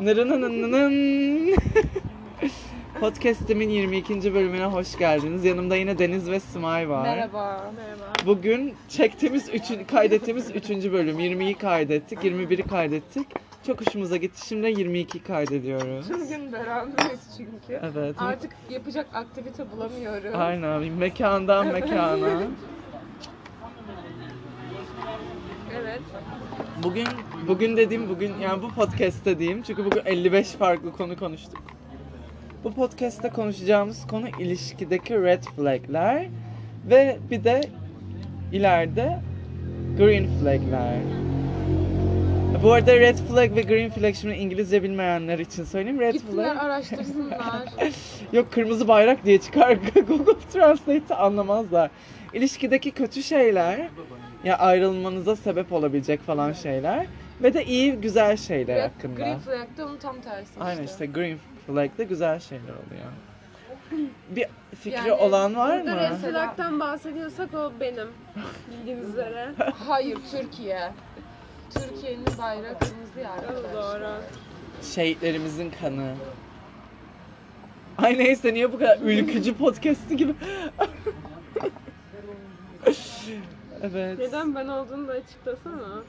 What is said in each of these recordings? Nırınınınının. Podcast'imin 22. bölümüne hoş geldiniz. Yanımda yine Deniz ve Simay var. Merhaba. Bugün çektiğimiz, üçün, kaydettiğimiz 3. bölüm. 20'yi kaydettik, 21'i kaydettik. Çok hoşumuza gitti. Şimdi 22'yi kaydediyoruz. Tüm gün beraberiz çünkü. Evet. Artık yapacak aktivite bulamıyorum. Aynen. Mekandan mekana. Evet. Bugün bugün dediğim bugün yani bu podcast dediğim çünkü bugün 55 farklı konu konuştuk. Bu podcast'te konuşacağımız konu ilişkideki red flag'ler ve bir de ileride green flag'ler. Bu arada red flag ve green flag şimdi İngilizce bilmeyenler için söyleyeyim. Red Gitsinler flag araştırsınlar. Yok kırmızı bayrak diye çıkar Google Translate'i anlamazlar. İlişkideki kötü şeyler ya ayrılmanıza sebep olabilecek falan şeyler ve de iyi güzel şeyler Red- hakkında. Green flag de onun tam tersi Aynen işte. işte green flag'de güzel şeyler oluyor. Bir fikri Yani olan var mı? Burada red flag'tan bahsediyorsak o benim. Bildiğiniz üzere. Hayır Türkiye. Türkiye'nin bayrağı kırmızı ya arkadaşlar. Doğru. Şehitlerimizin kanı. Ay neyse niye bu kadar ülkücü podcast'i gibi. evet. Neden ben olduğunu da açıklasana.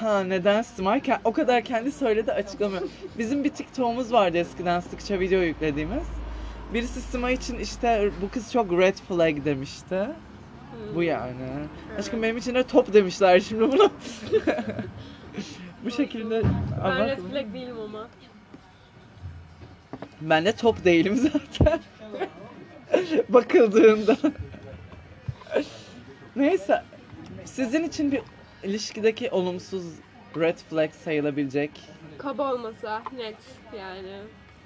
Ha neden Smar? Ke- O kadar kendi söyledi açıklamıyor. Bizim bir TikTok'umuz vardı eskiden sıkça video yüklediğimiz. Birisi Sima için işte bu kız çok red flag demişti. Hmm. Bu yani. Aşkım benim için de top demişler şimdi bunu. bu şekilde Ben red anlatma. flag değilim ama. Ben de top değilim zaten. Bakıldığında. Neyse. Sizin için bir ilişkideki olumsuz red flag sayılabilecek Kaba olmasa net yani.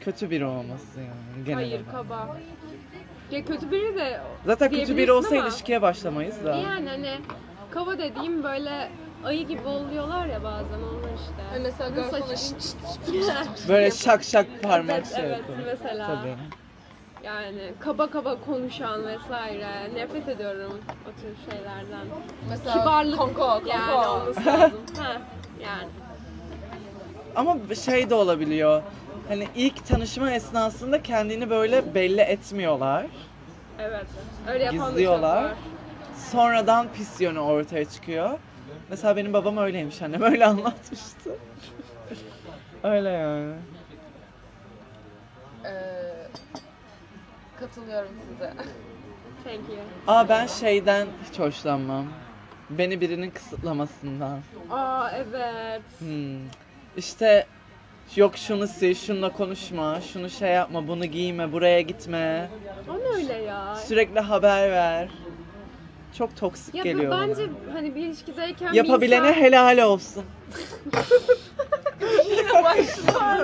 Kötü biri olması yani genel Hayır olarak. kaba. Ya kötü biri de Zaten kötü biri diyebilirsin olsa ama- ilişkiye başlamayız da. yani hani kaba dediğim böyle ayı gibi oluyorlar ya bazen onlar işte. Yani mesela Bunun garsona saçı- şşt şşt Böyle şak şak parmak Evet, şey evet, yapıyor. mesela. Tabii. Yani kaba kaba konuşan vesaire. Nefret ediyorum o tür şeylerden. mesela Kibarlık konko, konko. yani olması lazım. ha, yani. Ama şey de olabiliyor. Hani ilk tanışma esnasında kendini böyle belli etmiyorlar. Evet. Öyle yapan da çok Gizliyorlar. var. Sonradan pis yönü ortaya çıkıyor. Mesela benim babam öyleymiş, annem öyle anlatmıştı. öyle yani. Ee, katılıyorum size. Thank you. Aa ben şeyden hiç hoşlanmam. Beni birinin kısıtlamasından. Aa evet. Hmm. İşte yok şunu sil, şununla konuşma, şunu şey yapma, bunu giyme, buraya gitme. O ne öyle ya? Sürekli haber ver. Çok toksik Ya bu geliyor. bana. bence hani bir ilişkideyken Yapabilene bir insan... helal olsun.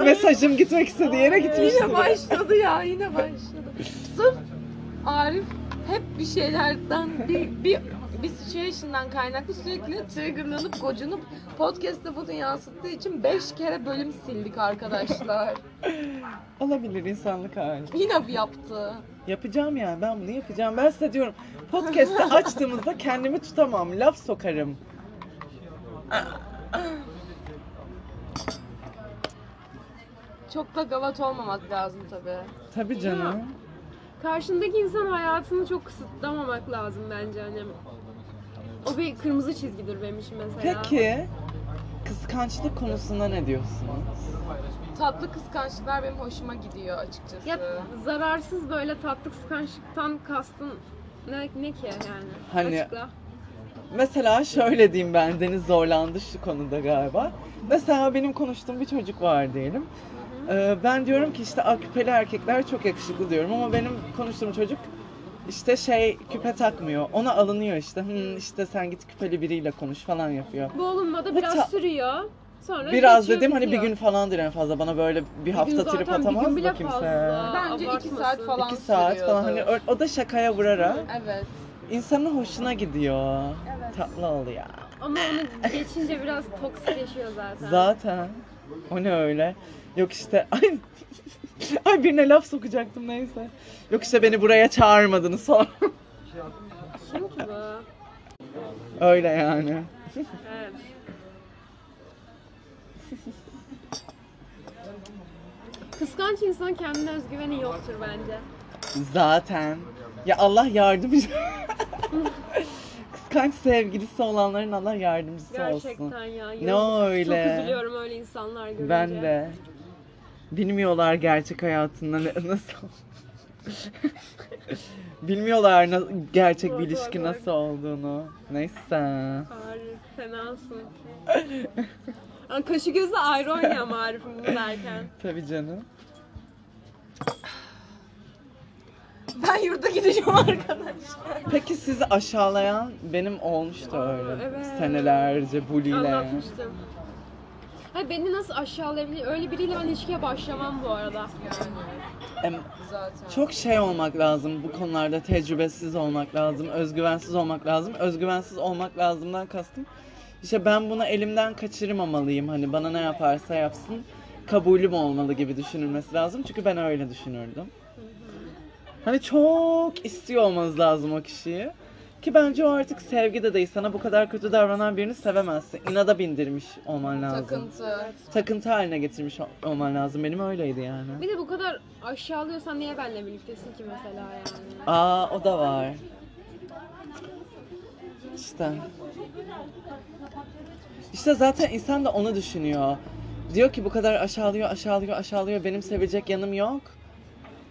Mesajım gitmek istediği yere gitmişti. Yine başladı ya yine başladı. Sırf Arif hep bir şeylerden bir bir bir situation'dan kaynaklı sürekli triggerlanıp gocunup podcast'te bunu yansıttığı için 5 kere bölüm sildik arkadaşlar. Olabilir insanlık hali. Yine bu yaptı. Yapacağım yani ben bunu yapacağım. Ben size diyorum podcast'ı açtığımızda kendimi tutamam. Laf sokarım. Çok da gavat olmamak lazım tabii. Tabii canım. Karşındaki insan hayatını çok kısıtlamamak lazım bence hani. O bir kırmızı çizgidir benim için mesela. Peki kıskançlık konusunda ne diyorsunuz? Tatlı kıskançlıklar benim hoşuma gidiyor açıkçası. Ya zararsız böyle tatlı kıskançlıktan kastın ne, ne ki yani? Hani- Açıkla. Mesela şöyle diyeyim ben Deniz zorlandı şu konuda galiba. Mesela benim konuştuğum bir çocuk var diyelim. Ee, ben diyorum ki işte "Aa, küpeli erkekler çok yakışıklı diyorum ama benim konuştuğum çocuk işte şey küpe takmıyor. Ona alınıyor işte. Hmm, işte sen git küpeli biriyle konuş falan yapıyor. Bu olunmada Bu biraz ta- sürüyor. Sonra Biraz geçiyor, dedim hani bir bitiyor. gün falandır en fazla bana böyle bir hafta zaten, trip bir gün atamaz bile mı kimse? fazla. Bence 2 Abartmasın. saat falan İki saat sürüyordu. falan hani ö- o da şakaya vurarak Evet. insanın hoşuna gidiyor. Evet. Tatlı oluyor. Ama onu geçince biraz toksikleşiyor zaten. Zaten. O ne öyle? Yok işte ay, ay birine laf sokacaktım neyse. Yok işte beni buraya çağırmadınız falan. Kim ki bu? öyle yani. Evet. Kıskanç insanın kendine özgüveni yoktur bence. Zaten. Ya Allah yardımcı. Kıskanç sevgilisi olanların Allah yardımcısı olsun. Gerçekten ya. Ne o öyle? Çok üzülüyorum öyle insanlar görünce. Ben de. Bilmiyorlar gerçek hayatında ne- nasıl. Bilmiyorlar na- gerçek Doğru, bir doğru, ilişki doğru. nasıl olduğunu. Neyse. Arif fenasın. Ama Kaşı gözü ayrı oynuyor ama Arif'in bunu derken. Tabii canım. Ben yurda gideceğim arkadaşlar. Peki sizi aşağılayan benim olmuştu öyle. evet. Senelerce buliyle. Anlatmıştım. Hayır beni nasıl aşağılayabilir? Öyle biriyle ben ilişkiye başlamam bu arada. Em, Zaten. Çok şey olmak lazım bu konularda tecrübesiz olmak lazım, özgüvensiz olmak lazım. Özgüvensiz olmak lazımdan kastım. İşte ben bunu elimden kaçırmamalıyım hani bana ne yaparsa yapsın kabulüm olmalı gibi düşünülmesi lazım. Çünkü ben öyle düşünürdüm. Hani çok istiyor olmanız lazım o kişiyi. Ki bence o artık sevgi de değil. Sana bu kadar kötü davranan birini sevemezsin. İnada bindirmiş olman lazım. Takıntı. Takıntı haline getirmiş ol- olman lazım. Benim öyleydi yani. Bir de bu kadar aşağılıyorsan niye benimle birliktesin ki mesela yani? Aa o da var. İşte. İşte zaten insan da onu düşünüyor. Diyor ki bu kadar aşağılıyor, aşağılıyor, aşağılıyor. Benim sevecek yanım yok.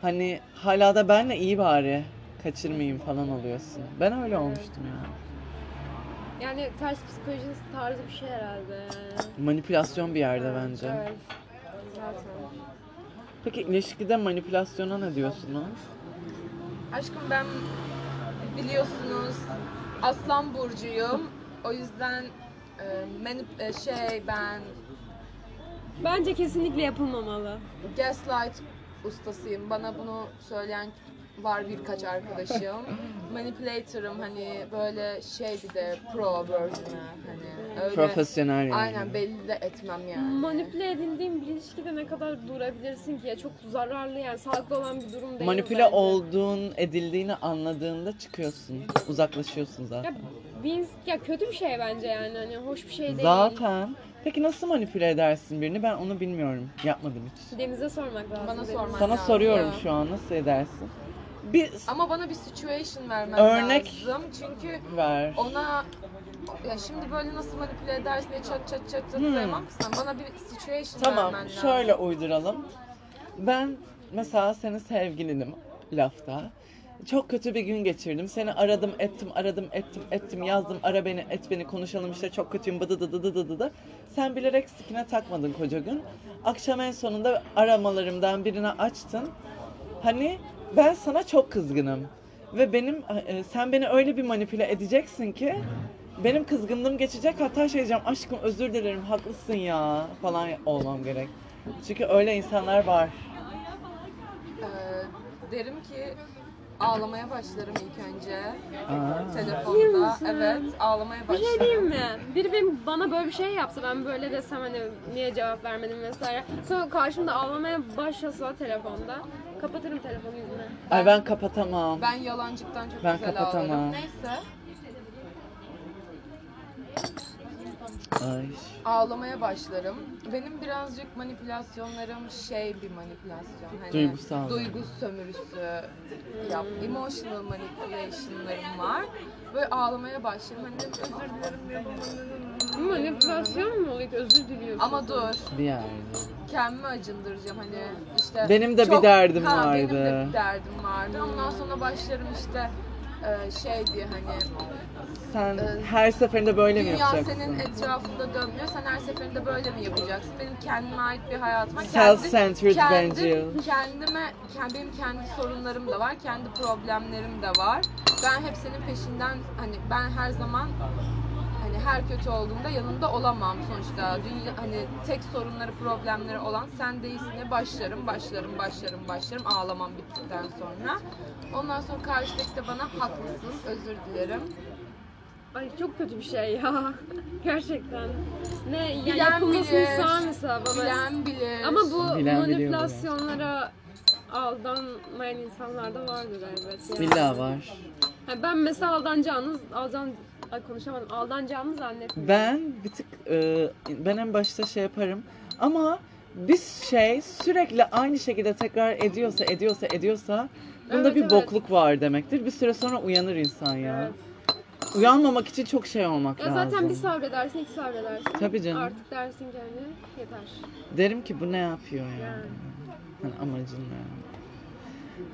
Hani hala da benle iyi bari. Kaçırmayayım falan oluyorsun. Ben öyle olmuştum ya. Yani ters psikoloji tarzı bir şey herhalde yani. Manipülasyon bir yerde bence. Evet. Zaten. Peki ilişkide manipülasyona ne diyorsunuz? Aşkım ben biliyorsunuz Aslan Burcu'yum. O yüzden e, menü- e, şey ben Bence kesinlikle yapılmamalı. gaslight ustasıyım. Bana bunu söyleyen var birkaç arkadaşım. Manipulator'ım hani böyle şey bir de pro version'ı hani öyle. Profesyonel yani. Aynen belli de etmem yani. Manipüle edildiğin bir ilişkide ne kadar durabilirsin ki ya çok zararlı yani sağlıklı olan bir durum değil. Manipüle bence. olduğun, edildiğini anladığında çıkıyorsun. Uzaklaşıyorsun zaten. Ya, biz, ya kötü bir şey bence yani hani hoş bir şey değil. Zaten. Peki nasıl manipüle edersin birini? Ben onu bilmiyorum. Yapmadım hiç. Denize sormak lazım. Bana Deniz. sormak. Sana lazım. soruyorum Ya. şu an nasıl edersin? Bir s- Ama bana bir situation vermen Örnek- lazım. Çünkü ver. ona ya şimdi böyle nasıl manipüle edersin diye çat çat çat çat Hmm. sayamam ki sen. Bana bir situation Tamam, vermen lazım. şöyle uyduralım. Ben mesela senin sevgilinim lafta. Çok kötü bir gün geçirdim. Seni aradım, ettim, aradım, ettim, ettim, yazdım, ara beni, et beni, konuşalım işte çok kötüyüm, bıdı dı dı dı dı dı dı. Sen bilerek sikine takmadın koca gün. Akşam en sonunda aramalarımdan birine açtın. Hani ben sana çok kızgınım. Ve benim, e, sen beni öyle bir manipüle edeceksin ki benim kızgınlığım geçecek hatta şey diyeceğim aşkım özür dilerim haklısın ya falan olmam gerek. Çünkü öyle insanlar var. Ee, derim ki ağlamaya başlarım ilk önce. Aa. Değil Telefonda. misin? Evet ağlamaya Bir şey diyeyim başlarım. mi? Biri benim, bana böyle bir şey yapsa ben böyle desem hani niye cevap vermedim vesaire. Sonra karşımda ağlamaya başlasa telefonda. Kapatırım telefonu yüzüne. Ay ben kapatamam. Ben yalancıktan çok Ben güzel kapatamam. ağlarım. Neyse Ay. ağlamaya başlarım. Benim birazcık manipülasyonlarım şey bir manipülasyon. Hani Duygusal. Duygu sömürüsü yap. Emotional manipulation'larım var. Böyle ağlamaya başlarım. Hani özür dilerim. Bu Manipülasyon mu oluyor ki? özür diliyorsun? Ama dur. Bir yerde. kendimi acındıracağım hani işte Benim de bir derdim ha, benim de vardı. bir derdim vardı ondan sonra başlarım işte e, şey diye hani Sen Ee, her seferinde böyle mi dünya yapacaksın? senin etrafında dönmüyor sen her seferinde böyle mi yapacaksın benim kendime ait bir hayatıma Self-centered bencil. kendime kend- benim kendi sorunlarım da var kendi problemlerim de var ben hep senin peşinden hani ben her zaman hani her kötü olduğumda yanında olamam sonuçta. Dünya, hani tek sorunları, problemleri olan sen değilsin diye başlarım, başlarım, başlarım, başlarım ağlamam bittikten sonra. Ondan sonra karşıdaki de bana haklısın, özür dilerim. Ay çok kötü bir şey ya. Gerçekten. Ne yani Bilen yapılmasını bilir. ister mesela bana. Bilen bilir. Ama bu Bilen biliyor manipülasyonlara aldanmayan insanlar da vardır elbet. ya. Villa var. Ha, ben mesela aldanacağınız, aldan, ay konuşamadım, aldanacağımı zannetmiyorum. Ben bir tık e, ben en başta şey yaparım ama bir şey sürekli aynı şekilde tekrar ediyorsa ediyorsa ediyorsa bunda Evet, bir evet. bokluk var demektir. Bir süre sonra uyanır insan ya. Evet. Uyanmamak için çok şey olmak Ya lazım. zaten bir sabredersin, iki sabredersin. Tabii canım. Artık dersin kendine yeter. Derim ki bu ne yapıyor ya? Yani. Hani amacın ne?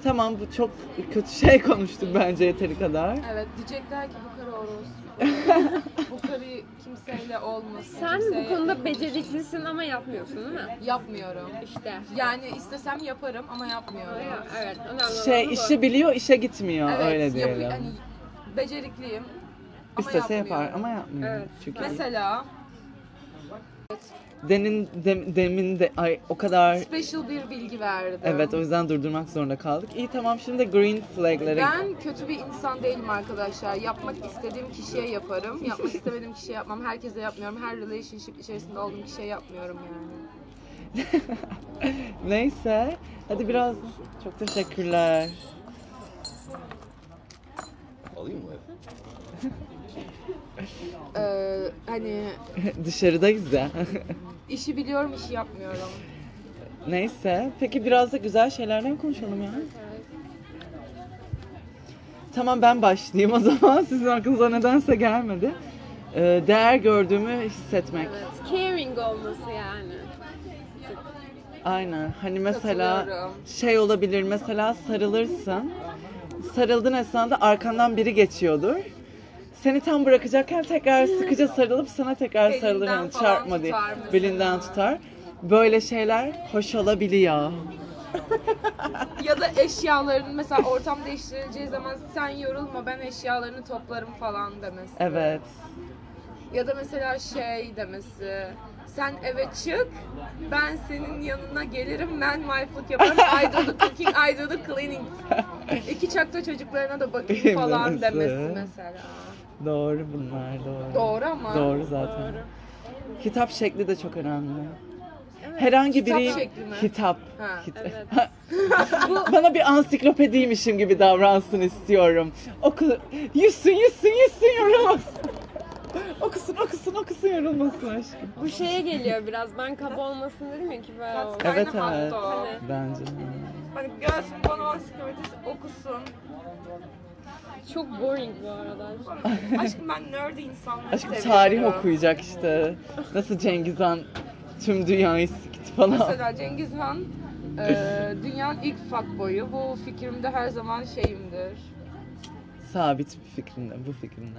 Tamam bu çok kötü şey konuştuk bence yeteri kadar. Evet diyecekler ki bu karı oros. bu karı kimseyle olmasın. Sen kimseye bu konuda yakın- beceriklisin ama yapmıyorsun değil mi? Yapmıyorum. İşte. Yani istesem yaparım ama yapmıyorum. Ya, Evet, önemli Şey olan bu. işi biliyor işe gitmiyor öyle yap- diyelim. hani becerikliyim ama İstese yapar yapmıyorum. ama yapmıyor. Evet. Çünkü Mesela denin dem- demin de ay o kadar special bir bilgi verdim. evet o yüzden durdurmak zorunda kaldık. İyi tamam şimdi de green flag'lere Ben kötü bir insan değilim arkadaşlar. Yapmak istediğim kişiye yaparım. Yapmak istemediğim kişiye yapmam. Herkese yapmıyorum. Her relationship içerisinde olduğum kişiye yapmıyorum yani. Neyse hadi biraz çok teşekkürler. Alayım mı? Ee, hani Dışarıdayız ya. işi biliyorum işi yapmıyorum. Neyse peki biraz da güzel şeylerden konuşalım ya. Evet. Tamam ben başlayayım o zaman. Sizin aklınıza nedense gelmedi. Ee, değer gördüğümü hissetmek. Evet, caring olması yani. Aynen. Hani mesela Katılıyorum. şey olabilir. Mesela sarılırsın. Sarıldığın esnada arkandan biri geçiyordur. Seni tam bırakacakken tekrar sıkıca sarılıp sana tekrar Belinden sarılır. Hani falan çarpma diye. tutar mesela. Belinden tutar. Böyle şeyler hoş olabiliyor. ya da eşyaların mesela ortam değiştirileceği zaman sen yorulma ben eşyalarını toplarım falan demesi. Evet. Ya da mesela şey demesi. Sen eve çık, ben senin yanına gelirim, ben wife'lık yaparım, I do the cooking, I do the cleaning. İki çakta çocuklarına da bakayım falan Demesi. demesi mesela. Doğru bunlar doğru. Doğru ama. Doğru zaten. Kitap şekli de çok önemli. Herhangi Kitap biri şekli mi? kitap. Ha, Kit- evet. Bana bir ansiklopediymişim gibi davransın istiyorum. Oku yüzsün yüzsün yüzsün yorulmasın. okusun okusun okusun yorulmasın aşkım. Bu şeye geliyor biraz. Ben kaba olmasın dedim ya ki böyle oldu. Aynı Evet evet. hafta o. Bence. Hani gelsin bana ansiklopedist okusun. Çok boring bu arada. Aşkım ben nerd insanları Aşkım seviyorum. tarih okuyacak işte. Nasıl Cengiz Han tüm dünyayı sikti falan. Mesela Cengiz Han e, dünyanın ilk fuckboyu. Bu fikrimde her zaman şeyimdir. sabit bir fikrimde, bu fikrimde.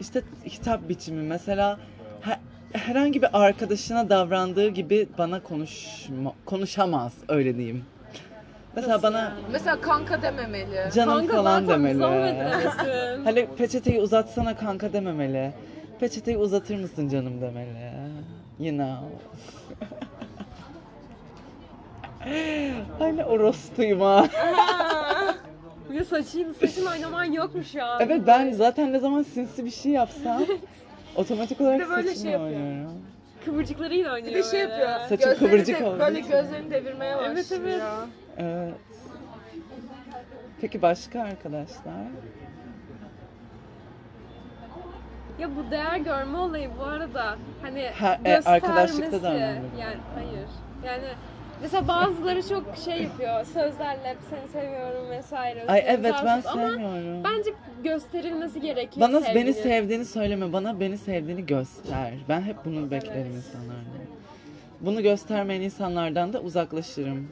İşte hitap biçimi mesela he- herhangi bir arkadaşına davrandığı gibi bana konuşma, konuşamaz öyle diyeyim. Mesela bana Mesela kanka dememeli. canım Kanka falan zaten demeli. zahmet demesin. Hani peçeteyi uzatsana kanka dememeli. Peçeteyi uzatır mısın canım demeli. You know. Ay ne orospuyum ha. Bir de saçın, saçın oynaman yokmuş ya. Evet ben zaten ne zaman sinsi bir şey yapsam otomatik olarak Bir de böyle saçımla şey yapıyor. oynuyorum. Kıvırcıklarıyla oynuyor. Bir de şey böyle. yapıyor. Saçı gözlerini kıvırcık de- oldu. Böyle gözlerini devirmeye başlıyor. Evet, evet. Evet. Peki başka arkadaşlar? Ya bu değer görme olayı bu arada hani Ha, e, göstermesi. arkadaşlıkta da önemli. Yani hayır. Yani mesela bazıları çok şey yapıyor. Sözlerle seni seviyorum vesaire. Ay seni evet ben sarsıp- Ama sevmiyorum. bence gösterilmesi gerekiyor. bana sevginin. beni sevdiğini söyleme, bana beni sevdiğini göster. Ben hep bunu beklerim insanlardan. Bunu göstermeyen insanlardan da uzaklaşırım.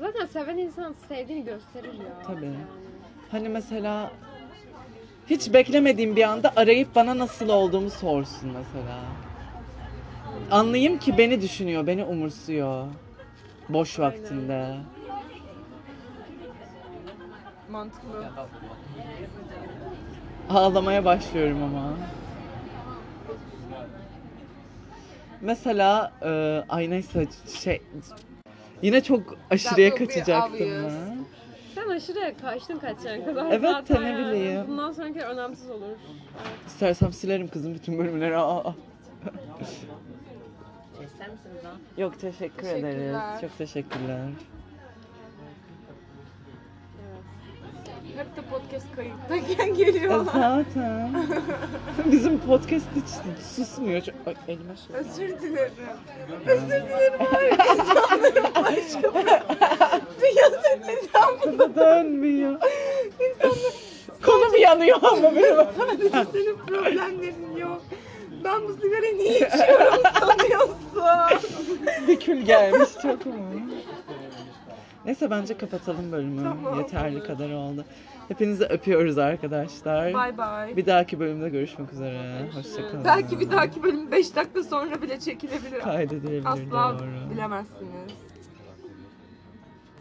Zaten seven insan sevdiğini gösterir ya. Tabii. Hani mesela hiç beklemediğim bir anda arayıp bana nasıl olduğumu sorsun mesela. Anlayayım ki beni düşünüyor, beni umursuyor. Boş vaktinde. Mantıklı. Ağlamaya başlıyorum ama. Mesela e, ay neyse şey yine çok aşırıya That would be kaçacaktım obvious. ha. Sen aşırı kaçtın kaçan kadar Evet, zaten ne yani. bileyim. Bundan sonraki önemsiz olur. İstersem silerim kızım bütün bölümleri. Aa. Yok teşekkür ederiz. Teşekkürler. Çok teşekkürler. Evet. Hep de podcast kayıttayken geliyorlar. Zaten. Bizim podcast hiç susmuyor. Çok- Ay, elime şey. Özür dilerim. Özür dilerim abi. İnsanların başka Piyasa neden bu? Bana dönmüyor. Kolum yanıyor ama benim. Sadece senin problemlerin yok. Ben bu sigarayı niye içiyorum sanıyorsun? Bir kül gelmiş çok mu? Neyse bence kapatalım bölümü. Tamam. Yeterli kadar oldu. Hepinizi öpüyoruz arkadaşlar. Bay bay. Bir dahaki bölümde görüşmek üzere. Hoşçakalın. Belki bir dahaki bölüm 5 dakika sonra bile çekilebilir. kaydedilebilir Asla doğru. bilemezsiniz.